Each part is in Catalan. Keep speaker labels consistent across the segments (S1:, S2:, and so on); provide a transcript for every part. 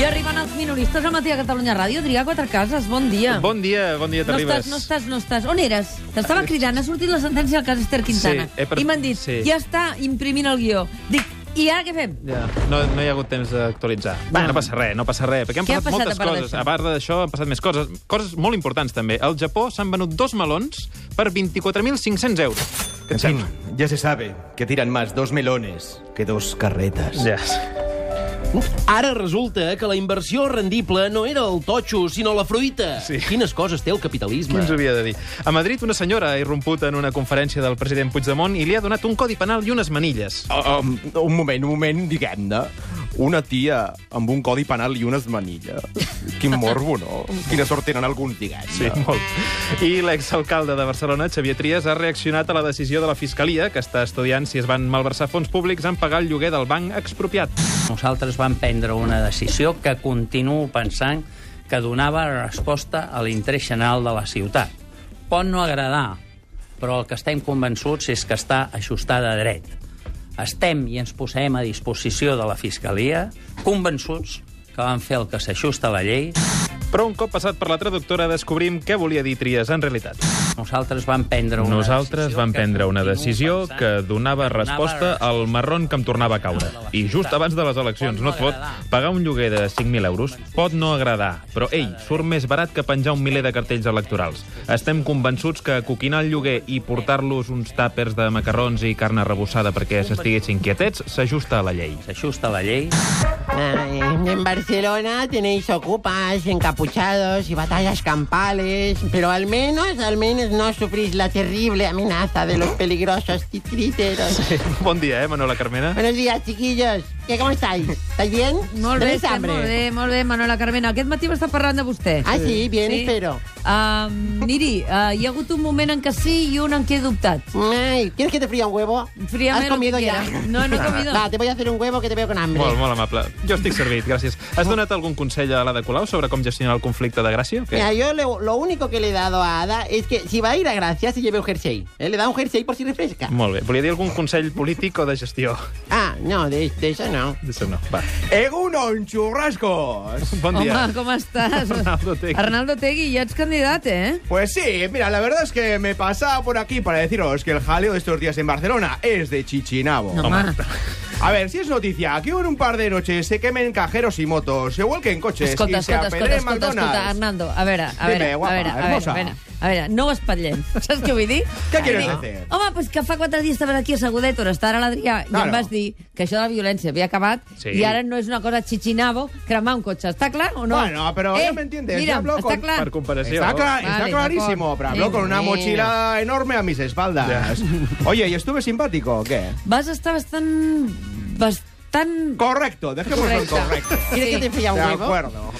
S1: I arriben els minoristes al matí a Catalunya Ràdio. Adrià Quatre Cases, bon dia.
S2: Bon dia, bon dia,
S1: no
S2: t'arribes.
S1: estàs, no estàs, no estàs. On eres? T'estava cridant, ha sortit la sentència del cas Esther Quintana.
S2: Sí, he per-
S1: I m'han dit,
S2: sí.
S1: ja està imprimint el guió. Dic, i ara què fem?
S2: Ja. No, no hi ha hagut temps d'actualitzar.
S1: Va.
S2: No passa res, no passa res, perquè han
S1: Què ha
S2: passat,
S1: passat
S2: moltes
S1: a part d'això?
S2: coses. A part d'això han passat més coses, coses molt importants també. Al Japó s'han venut dos melons per 24.500 euros. Què
S3: En
S2: et
S3: fin,
S2: sembla?
S3: ya se sabe que tiran más dos melones que dos carretas.
S2: Ja.
S4: Ara resulta que la inversió rendible no era el totxo, sinó la fruita.
S2: Sí.
S4: Quines coses té el capitalisme.
S2: Qui ens ho havia de dir? A Madrid, una senyora ha irromput en una conferència del president Puigdemont i li ha donat un codi penal i unes manilles.
S3: Ah, um, un moment, un moment, diguem-ne. Una tia amb un codi penal i unes manilles. Quin morbo, no? Quina sort tenen alguns, diguem-ne.
S2: Sí, molt. I l'exalcalde de Barcelona, Xavier Trias, ha reaccionat a la decisió de la Fiscalia, que està estudiant si es van malversar fons públics en pagar el lloguer del banc expropiat.
S5: Nosaltres vam prendre una decisió que continuo pensant que donava resposta a l'interès general de la ciutat. Pot no agradar, però el que estem convençuts és que està ajustada a dret. Estem i ens posem a disposició de la Fiscalia convençuts que van fer el que s'ajusta a la llei.
S2: Però un cop passat per la traductora descobrim què volia dir Trias en realitat.
S5: Nosaltres vam prendre una
S2: Nosaltres
S5: decisió
S2: vam
S5: que
S2: prendre una
S5: continuo
S2: decisió
S5: pensant
S2: que donava resposta
S5: resposta
S2: al marron que em tornava a caure. I just abans de les eleccions, no et fot, pagar un lloguer de 5.000 euros pot no agradar, però ei, surt més barat que penjar un miler de cartells electorals. Estem convençuts que coquinar el lloguer i portar-los uns tàpers de macarrons i carn arrebossada perquè s'estiguessin quietets s'ajusta a la llei.
S5: s'ajusta a la llei.
S6: Ay, En Barcelona tenéis ocupas, encapuchados y batallas campales, pero al menos, al menos no sufrís la terrible amenaza de los peligrosos titriteros.
S2: Bon dia, eh, Manuela Carmena?
S6: Buenos días, chiquillos. ¿Qué, ¿Cómo estáis? ¿Estáis bien?
S1: Molt bé,
S6: ¿Tenéis
S1: estem
S6: hambre?
S1: molt bé, molt bé, Manuela Carmena. Aquest matí m'està parlant de vostè.
S6: Ah, sí? Bien, espero.
S1: Um, Niri, uh, hi ha hagut un moment en què sí i un en què he dubtat.
S6: Ay, ¿Quieres que te fría un huevo?
S1: Fríame lo
S6: ¿Has
S1: que
S6: comido ya? Ah,
S1: quieras. No, no he comido.
S6: Va, te voy a hacer un huevo que te veo con hambre.
S2: Molt, molt amable. Jo estic servit, gràcies. Has donat algun consell a l'Ada Colau sobre com gestionar el conflicte de Gràcia? o què?
S6: Mira, yo lo, lo único que le he dado a Ada es que si va a ir a Gracia, se lleve un jersey. ¿eh? Le da un jersey por si refresca.
S2: Molt bé. Volia dir algun consell polític o de gestió?
S6: Ah, no, de- de eso no.
S2: D'això no. Va.
S3: Egunon, churrascos.
S2: Bon dia.
S1: Home, com estàs?
S2: Arnaldo Tegui.
S1: Arnaldo Tegui, ja ets candidat, eh?
S3: Pues sí, mira, la verdad es que me pasaba por aquí para deciros que el jaleo de estos días en Barcelona es de chichinabo.
S1: Home.
S3: A ver, si es noticia que en un par de noches se quemen cajeros y motos, se vuelquen coches
S1: Escolta,
S3: y se
S1: escolta, escolta,
S3: apedreen
S1: escolta,
S3: McDonald's.
S1: escolta, Arnando, a veure, a
S3: Dime,
S1: veure,
S3: guapa,
S1: a veure, a veure,
S3: hermosa.
S1: a veure, a veure, no ho espatllem. Saps què vull dir?
S3: Què quieres
S1: Vull dir,
S3: hacer?
S1: Home, pues que fa quatre dies estaves aquí a Sagudet, on està ara l'Adrià, i
S3: Claro.
S1: em vas dir que això de la violència havia acabat
S2: Sí.
S1: i ara no és una cosa xichinabo cremar un cotxe. Està clar o no?
S3: Bueno, però
S1: eh,
S3: ja m'entiendes,
S1: Mira,
S3: ja hablo
S1: està
S3: con-
S1: clar.
S2: Per comparació.
S3: Está, cla-
S1: Vale,
S3: está
S1: de
S3: clarísimo,
S1: acuerdo.
S3: pero hablo con una
S6: Dios mío.
S3: mochila enorme a mis espaldas. Oye, ¿y estuve simpático o qué?
S1: Vas estar bastant... bastant...
S3: Correcto, dejémoslo en correcto.
S6: ¿Quieres
S1: Sí.
S6: que te fría un
S3: De
S6: huevo?
S3: acuerdo.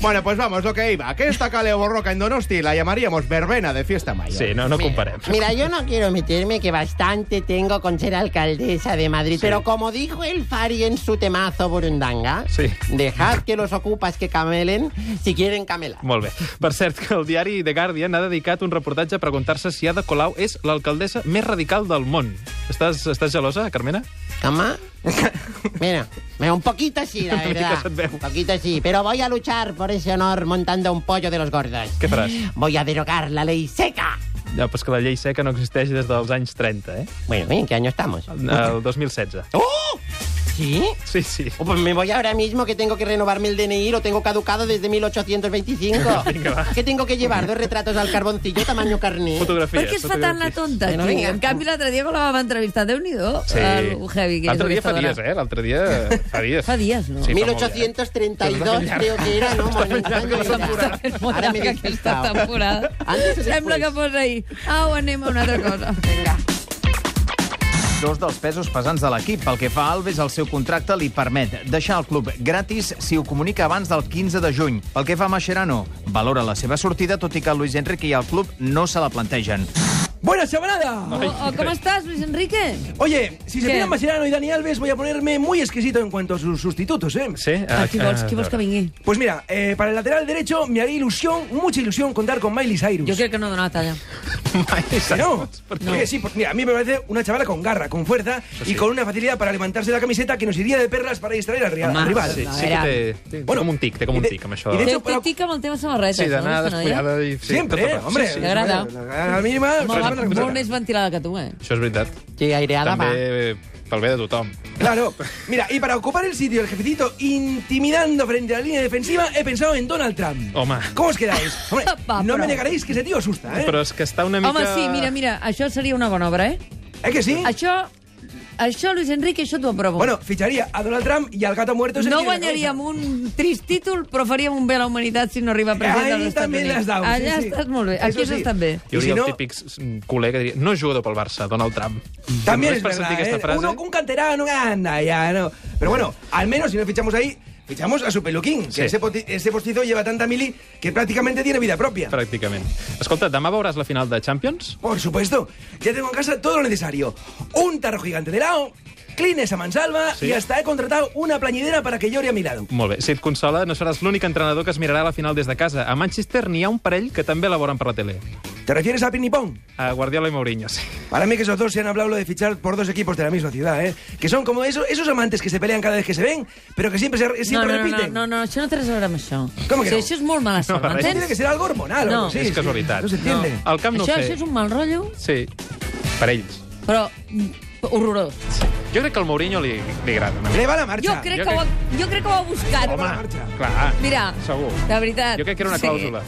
S3: Bueno, pues vamos, lo que iba. Que esta caleo borroca en Donosti la llamaríamos verbena de fiesta mayor.
S2: Sí, no, no comparem.
S6: Mira, yo no quiero meterme, que bastante tengo con ser alcaldesa de Madrid, pero como dijo el Fari en su temazo Burundanga,
S2: Sí.
S6: dejad que los ocupas que camelen si quieren camelar.
S2: Molt bé. Per cert, que el diari The Guardian ha dedicat un reportatge a preguntar-se si Ada Colau és l'alcaldessa més radical del món. Estàs, estàs gelosa, Carmena?
S6: ¿Cama? Mira, mira, un poquito sí, la
S2: Un poquito
S6: verdad.
S2: se te ve.
S6: Un poquito sí, pero voy a luchar por ese honor montando un pollo de los gordos.
S2: Què faràs?
S6: Voy a derogar la ley seca.
S2: Ja, però és que la llei seca no existeix des dels anys 30, eh?
S6: Bueno, ¿en qué año estamos?
S2: El 2016.
S6: ¡Oh! ¿Sí?
S2: Sí, sí.
S6: Oh, Pues me voy ahora mismo que tengo que renovarme el DNI, lo tengo caducado desde 1825. ¿Qué tengo que llevar? Dos retratos al carboncillo tamaño carné.
S2: Fotografies.
S1: Per què es fa tant la tonta?
S6: Bueno,
S1: aquí?
S6: vinga.
S1: En canvi, l'altre dia quan la vam entrevistar, Déu-n'hi-do,
S2: Sí.
S1: el heavy Ah, que és
S2: L'altre dia
S1: aquesta
S2: fa
S1: dona.
S2: dies, eh? L'altre dia fa dies.
S1: Fa dies, no?
S2: Sí, fa molt llarg.
S6: 1832 creo que era, ¿no? Bueno, año era. Ahora me he
S1: aquesta
S6: despistado.
S1: temporada.
S6: Antes o
S1: Sembla que
S6: després?
S1: posa ahir. Au, anem a una altra cosa. Vinga.
S7: Dos dels pesos pesants de l'equip. Pel que fa a Alves, el seu contracte li permet deixar el club gratis si ho comunica abans del 15 de juny. Pel que fa a Mascherano, valora la seva sortida, tot i que Luis Enrique i el club no se la plantegen.
S8: Buena chavalada.
S1: O, o, Oh, com estàs, Luis Enrique?
S8: Oye, si se
S1: ¿Qué?
S8: miran Mascherano y Dani Alves, voy a ponerme muy exquisito en cuanto a sus sustitutos, ¿eh?
S2: Sí?
S1: Ah, qui vols, qui vols que vingui?
S8: Pues mira, eh, para el lateral derecho me haría ilusión, mucha ilusión, contar con Miley Cyrus.
S1: Jo crec que no donava talla.
S8: Que no, Porque sí, pues mira, a mí me parece una chavala con garra, con fuerza
S2: Pues
S8: y con una facilidad para levantarse la camiseta que nos iría de perlas para distraer al, ria- al rival.
S2: Sí,
S1: A
S2: sí
S1: veure.
S2: que té, té bueno, com un tic, té com un tic amb això.
S8: i
S2: De...
S8: de-
S1: Té, té tic amb el tema samarreta.
S2: Sí,
S1: no,
S2: d'anar
S1: Estona,
S2: despullada i... Sí,
S8: Siempre,
S2: tota
S8: eh,
S2: la-
S8: hombre.
S1: sí. T'agrada.
S8: A la mínima...
S1: ja? Home,
S8: se
S1: va,
S8: la-
S1: molt més ventilada que tu, eh?
S2: Això és veritat.
S9: Sí, aireada va.
S2: També pel bé de tothom.
S8: Claro. Mira, y para ocupar el sitio del jefecito intimidando frente a la línea defensiva, he pensado en Donald Trump.
S2: Home.
S8: ¿Cómo os quedáis? Hombre,
S1: Va,
S8: no
S1: però-
S8: me negaréis que ese tío asusta, ¿eh?
S2: Però és que està una mica...
S1: Home, sí, mira, mira, això seria una bona obra, eh?
S8: ¿Eh que sí?
S1: Això, això Luis Enrique, això t'ho aprovo.
S8: Bueno, ficharía a Donald Trump y al gato muerto. se
S1: no
S8: tira la
S1: guanyaríem un trist títol, però faríem un bé a la humanitat si no arriba president
S8: Ahí
S1: dels Estats
S8: també l'has
S1: Units.
S8: dado, sí,
S1: Allà
S8: sí.
S1: estàs molt bé,
S8: Eso
S1: aquí has
S8: sí.
S1: estat bé.
S2: Hi hauria
S8: I si
S2: si
S8: no-
S2: el típic mm, culer que diria no jugador pel Barça, Donald Trump.
S8: cabeza. También
S2: Només
S8: es
S2: per sentir
S8: verdad,
S2: aquesta
S8: ¿eh?
S2: frase...
S8: Uno con un canterano, anda, ya, no. Pero bueno, al menos si no fichamos ahí, fichamos a su peluquín, que
S2: Sí.
S8: ese, poti- ese postizo lleva tanta mili que prácticamente tiene vida propia.
S2: Pràcticament. Escolta, demà veuràs la final de Champions?
S8: Por supuesto, ya tengo en casa todo lo necesario. Un tarro gigante de helado, clines a mansalva
S2: Sí.
S8: y hasta he contratado una plañidera para que llore a mi lado.
S2: Molt bé. Si et consola, no seràs l'únic entrenador que es mirarà la final des de casa. A Manchester n'hi ha un parell que també la veuran per la tele.
S8: ¿Te refieres a Pinipón?
S2: A Guardiola i Mourinho, sí.
S8: Para mí que esos dos se han hablado lo de fichar por dos equipos de la misma ciudad, ¿eh? Que son como esos, esos amantes que se pelean cada vez que se ven, pero que siempre se
S1: No,
S8: siempre
S1: no, no,
S8: repiten.
S1: no, no, això no té res a veure amb això.
S8: Com que
S1: o sigui,
S8: no?
S1: Això és molt mala sort,
S2: No, res.
S8: Tiene que
S1: m'entens?
S8: ser algo hormonal.
S1: No.
S8: o algo así,
S2: És casualitat.
S8: No se entiende.
S2: Al camp no
S1: això,
S2: ho sé.
S1: això és un mal rotllo,
S2: Sí, per ells.
S1: però mm, horrorós.
S2: Jo crec que al Mourinho li, li agrada. una mica.
S8: Le va la marcha.
S1: Jo crec,
S2: jo
S1: que ho,
S2: crec-
S1: ha- jo crec que ho ha buscat.
S8: Home. la marxa.
S2: clar,
S1: Mira,
S2: segur.
S1: de veritat.
S2: Jo crec que era una clàusula.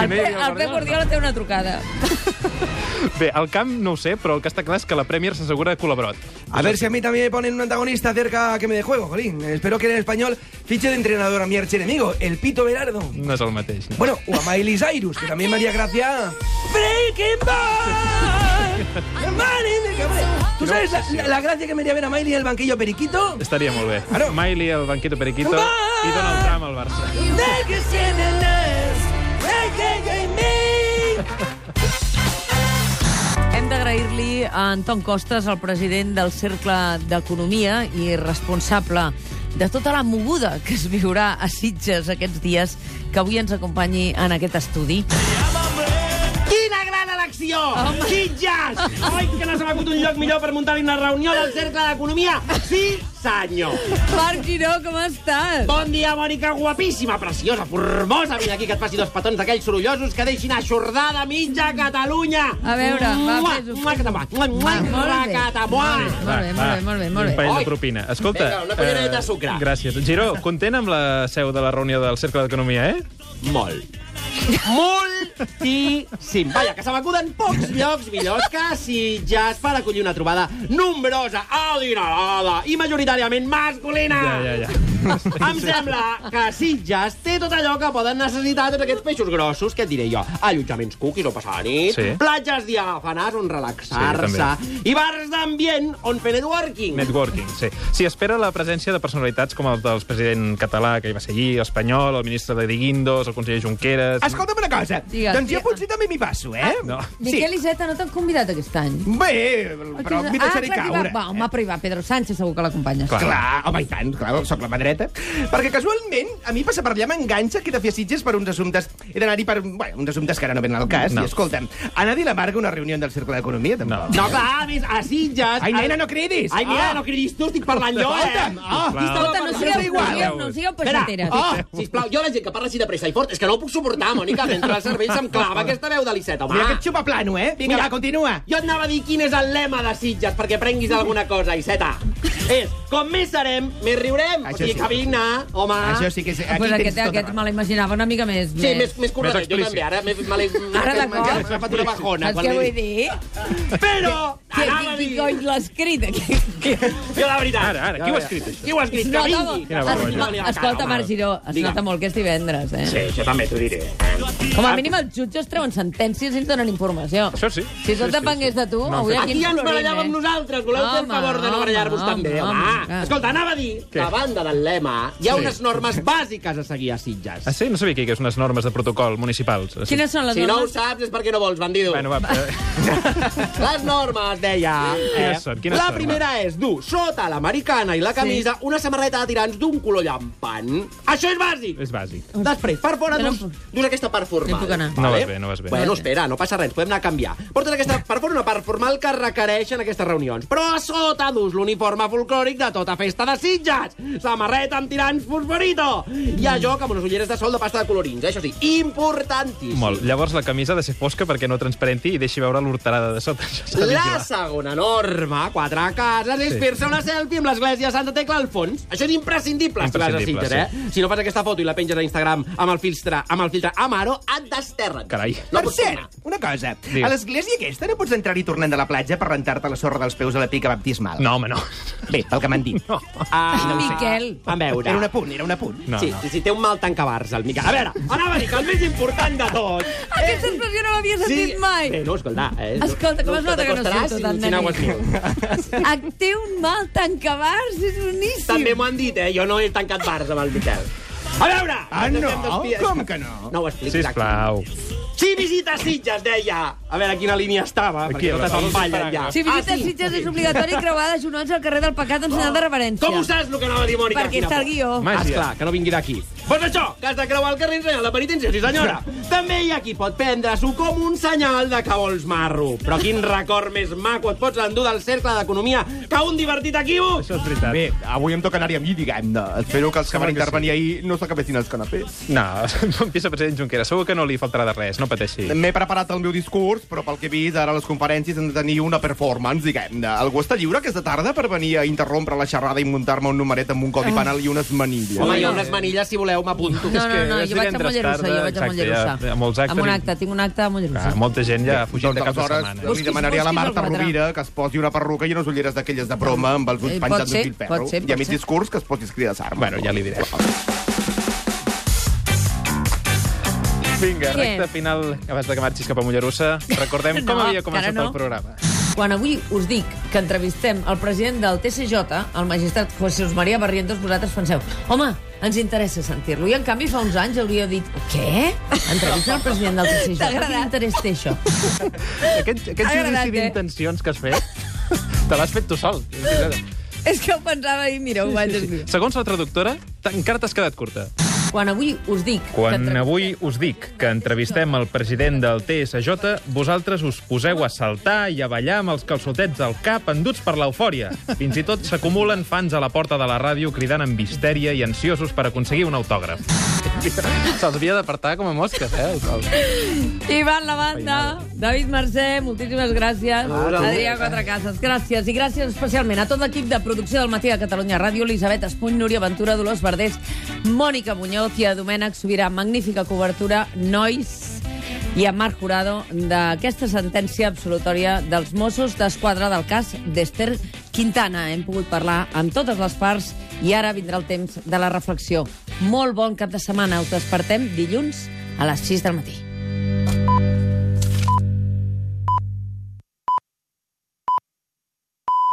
S1: El,
S2: no hi
S1: Pe-
S2: havia
S1: el Pep
S2: Guardiola,
S1: Guardiola té una trucada.
S2: Bé, al camp no ho sé, però el que està clar és que la Premier s'assegura col·laborat.
S8: A ver si a mí también me ponen un antagonista cerca que me dé juego, jolín. Espero que en el español fiche de entrenador a mi archienemigo, el Pito Berardo.
S2: No és el mateix. No?
S8: Bueno, o a Miley Cyrus, que también me haría gracia. ¡Breaking Bad! The man in the- hombre, ¿Tú sabes la, la- la gracia que me haría ver a Miley en el banquillo periquito?
S2: Estaria molt bé.
S8: Claro.
S2: Miley, el banquito periquito,
S8: Va!
S2: i Donald Trump al Barça.
S8: Naked in the nest, naked in me.
S1: Hem d'agrair-li a Anton Costas, el president del Cercle d'Economia i responsable de tota la moguda que es viurà a Sitges aquests dies, que avui ens acompanyi en aquest estudi.
S6: Quina gran elecció! Home. Sitges! Oi que no s'ha hagut un lloc millor per muntar-hi una reunió del Cercle d'Economia? Sí, senyor!
S1: Marc Giró, com estàs?
S6: Bon dia, Mònica, guapíssima, preciosa, formosa. Vine aquí que et faci dos petons d'aquells sorollosos que deixin aixordada mitja Catalunya.
S1: A veure, va,
S6: Mua,
S1: fes-ho,
S6: mua, catamua, mua, mua,
S1: Va, molt bé.
S6: racatamua.
S1: Molt bé, molt bé, molt bé, molt
S2: Un
S1: bé.
S2: parell
S6: Oi.
S2: de propina. Escolta... eh,
S6: Vinga, una cullereta de sucre.
S2: Gràcies. Giró, content amb la seu de la reunió del Cercle d'Economia, eh?
S6: Molt. Moltíssim. Vaja, que se m'acuden pocs llocs millors que Sitges per acollir una trobada nombrosa, adinerada i majoritàriament masculina.
S2: Ja, ja, ja.
S6: Em sembla que Sitges té tot allò que poden necessitar tots aquests peixos grossos, que et diré jo, allotjaments cuquis o passar la nit,
S2: Sí.
S6: platges diafanars on relaxar-se, i bars d'ambient on fer networking.
S2: Networking, sí. S'hi espera la presència de personalitats com el del president català, que hi va ser allí, espanyol, el ministre de Guindos, el conseller Junqueras...
S8: Escolta'm una cosa,
S1: Digues,
S8: doncs jo
S1: digues. Ah,
S8: potser també m'hi passo, eh?
S2: No.
S1: Miquel Iceta, no t'han convidat aquest any?
S8: Bé, però m'hi
S1: ah,
S8: deixaré
S1: clar, que hi
S8: caure.
S1: Va, va,
S3: Eh,
S1: home, però hi va Pedro Sánchez, segur que l'acompanyes.
S2: Clar.
S8: Clar, home, i tant, clar, sóc la mà dreta. Perquè casualment, a mi passar per allà m'enganxa que he de fer Sitges per uns assumptes... He d'anar-hi per, bueno, uns assumptes que ara no venen al cas.
S2: No.
S8: No. I escolta'm, ha anat a la Marga a una reunió del Cercle d'Economia, tampoc.
S6: No, clar, a més, a Sitges...
S8: Ai, nena, no cridis!
S6: Ai, mira, no cridis tu, estic parlant jo, eh? Ah,
S2: Clar.
S1: Escolta, no
S6: Espera,
S1: sigueu, no sigueu, no sigueu peixateres.
S6: oh, sisplau, jo la gent que parla així de pressa i fort és que no ho puc suportar, Mònica, mentre el cervell se'm clava aquesta veu de l'Iceta, home.
S8: Mira que et xupa plano, eh? Vinga,
S6: Mira.
S8: va, continua.
S6: Jo et anava a dir quin és el lema de Sitges perquè prenguis alguna cosa, Iceta. És, com més serem, més riurem. o
S8: Això
S6: sigui,
S8: sí.
S6: que vine, home...
S8: Això sí que és...
S1: Ah,
S8: Aquí
S1: pues
S8: tens
S1: aquest,
S8: tota
S1: aquest
S8: raó.
S1: me l'imaginava una mica més.
S6: Sí, més, més corredet, jo
S2: explícit.
S6: també, ara m'he me l'he-
S1: Ara
S6: m'he-
S1: d'acord.
S6: m'he agafat una bajona.
S1: Saps
S6: quan
S1: què
S6: l'he
S1: vull
S6: dit.
S1: dir?
S6: Però,
S1: Qui,
S6: anava a
S1: qui, qui
S6: dir...
S1: cony l'ha escrit? Qui, qui...
S6: Jo, la veritat...
S2: Ara, ara, qui ho ha escrit, això?
S6: Qui ho ha escrit?
S1: No,
S6: Que
S1: no,
S6: vingui.
S2: Quina barbaja.
S1: es, ma- escolta, Marc Giró, es
S6: Digue'm.
S1: nota molt que és divendres, eh?
S6: Sí, això també t'ho diré.
S1: Com a mínim els jutges treuen sentències i ens donen informació.
S2: Això sí.
S1: Si tot depengués de tu, avui
S6: Aquí
S1: aquí
S6: ja ens
S1: plorim,
S6: barallàvem
S1: eh?
S6: nosaltres. Voleu fer el
S1: Home,
S6: favor de no barallar-vos
S1: home,
S6: també,
S1: home,
S6: home?
S1: clar.
S6: Escolta, anava a dir que a banda del lema hi ha unes normes bàsiques a seguir a Sitges.
S2: Ah, sí? No sabia que hi hagués unes normes de protocol municipals. Sí.
S1: Quines són les
S6: Si no ho
S1: normes?
S6: saps és perquè no vols, bandido.
S2: Bueno, va, eh,
S6: Les normes, deia... Eh?
S2: Quines són? Quines
S6: la
S2: són,
S6: primera és dur sota l'americana i la camisa una samarreta de tirants d'un color llampant. Això és bàsic.
S2: és bàsic.
S6: Després, per fora,
S1: Jo no
S6: dus,
S1: puc.
S6: dus aquesta part
S1: No hi puc
S6: formal.
S1: anar.
S2: No vas bé, no vas bé.
S6: Bueno, espera, no passa res, podem anar a canviar. Porten aquesta per fora una part formal que requereixen aquestes reunions, però a sota dus l'uniforme folclòric de tota festa de Sitges. Samarreta amb tirants fosforito. I a joc amb unes ulleres de sol de pasta de colorins, eh? això sí, importantíssim.
S2: Molt. Llavors la camisa ha de ser fosca perquè no transparenti i deixi veure l'horterada de sota. Això s'ha de
S6: La
S2: vigilar.
S6: segona norma, quatre cases, és fer-se una selfie amb l'església de Santa Tecla al fons. Això és imprescindible,
S2: Imprescindible,
S6: imprescindible sí. eh? Si no fas aquesta foto i la penges a Instagram amb el filtre, amb el filtre Amaro, et desterren.
S2: Carai.
S6: No
S10: per
S6: pots tornar.
S10: cert, una cosa.
S2: Digues.
S10: A l'església aquesta no pots entrar-hi tornant de la platja per rentar-te la sorra dels peus a la pica baptismal.
S2: No, home, no.
S10: Bé, pel que m'han dit. No.
S6: Ah,
S1: Miquel.
S6: A veure.
S10: Era un apunt, era un apunt.
S2: No,
S6: sí,
S2: no.
S6: sí, sí, té un mal tancabars, el Miquel. A veure, anava a dir que el més important de tot...
S1: Aquesta
S6: Eh,
S1: expressió no l'havia sentit mai.
S6: Bé, no, escolta, eh? no-
S1: Escolta, com es nota que no
S6: t'acostaràs
S1: sento
S6: si-
S1: tant,
S6: si n'aguas
S1: Dani.
S6: mil.
S1: Ac té un mal tancabars, és boníssim.
S6: També m'ho han dit, eh? Jo no he tancat bars amb el Miquel. A veure!
S10: Ah,
S6: ens
S10: no?
S6: fem d'espies.
S10: Com que no?
S6: No ho explico.
S2: Sisplau.
S6: Si visita Sitges, deia. A veure quina línia estava, Aquí, perquè
S2: a la
S6: totes em ballen ja. Ah,
S1: Si
S2: Ah,
S1: visites Sitges és obligatori creuar de genolls al carrer del pecat en senyal de reverència.
S6: Com ho saps, el que anava a dir Mònica?
S1: Perquè
S6: Quina
S1: està el
S6: por.
S1: guió.
S6: Ah,
S2: Màgia.
S6: esclar, que no vingui d'aquí. Doncs això, que has de creuar el carrer Israel de penitència, sí senyora. També hi ha qui pot prendre-s'ho com un senyal de que vols marro. Però quin record més maco et pots endur del cercle d'economia que un divertit equívoc.
S2: Això és veritat.
S3: Bé, avui em toca anar-hi a mi, diguem-ne. Espero que els que
S2: Sembla
S3: van
S2: que
S3: intervenir ahir no s'acabessin els canapés.
S2: No, bon vicepresident Junqueras, segur que no li faltarà de res, no pateixi.
S3: M'he preparat el meu discurs, però pel que he vist, ara a les conferències han de tenir una performance, diguem-ne. Algú està lliure aquesta tarda per venir a interrompre la xerrada i muntar-me un numeret amb un codi penal i unes manilles?
S6: Home, jo unes manilles, si voleu,
S1: No,
S6: m'apunto.
S2: És
S1: no,
S2: que
S1: no,
S2: és
S1: jo vaig a
S2: divendres
S1: Mollerussa,
S2: tarda,
S1: jo vaig a
S2: exacte,
S1: Mollerussa.
S2: ja, hi ha molts actes
S1: Amb un
S2: i-
S1: acte, tinc un acte a Mollerussa.
S2: Clar, Ah, molta gent ja ha fugit
S3: Doncs
S2: de cap de
S3: aleshores
S2: setmana.
S3: li
S1: Busquis,
S3: demanaria a la
S1: busquis
S3: Marta
S1: el quadre.
S3: Rovira que es posi una perruca i unes ulleres d'aquelles de broma amb els
S1: Eh,
S3: ulls
S1: pot
S3: penjats
S1: ser,
S3: d'un fil ferro.
S1: pot ser,
S3: I
S1: pot
S3: a mig
S1: ser.
S3: discurs que es posi escrita d'armes.
S2: Bueno, ja li diré. Vinga,
S1: Què?
S2: recta final, abans de que marxis cap a Mollerussa, recordem com
S1: No,
S2: havia
S1: encara
S2: començat
S1: no.
S2: el programa.
S1: Quan avui us dic que entrevistem el president del TCJ, el magistrat José Luis María Barrientos, vosaltres penseu, home, ens interessa sentir-lo. I en canvi fa uns anys hauria dit, què? Entrevista el president del TCJ? Quin interès té això?
S2: Aquest, aquest
S1: Ha agradat,
S2: judici
S1: eh?
S2: d'intencions que has fet, te l'has fet tu sol.
S1: És que ho pensava i mira, ho vaig escriure.
S2: Segons la traductora, t- encara t'has quedat curta.
S1: Quan avui us dic... que
S2: Quan
S1: entrevistem-
S2: avui us dic que entrevistem el president del TSJ, vosaltres us poseu a saltar i a ballar amb els calçotets al cap enduts per l'eufòria. Fins i tot s'acumulen fans a la porta de la ràdio cridant amb histèria i ansiosos per aconseguir un autògraf. Se'ls havia d'apartar com a mosques, eh?
S1: Ivan, la banda, David Mercè, moltíssimes gràcies. Adrià Quatrecases, gràcies. I gràcies especialment a tot l'equip de producció del Matí de Catalunya Ràdio, Elisabet Espuny, Núria Ventura, Dolors Verdés, Mònica Muñoz i a Domènec Sobirà. Magnífica cobertura, nois i a Marc Jurado d'aquesta sentència absolutòria dels Mossos d'Esquadra del cas d'Ester Quintana. Hem pogut parlar amb totes les parts i ara vindrà el temps de la reflexió. Molt bon cap de setmana. Us despertem dilluns a les 6 del matí.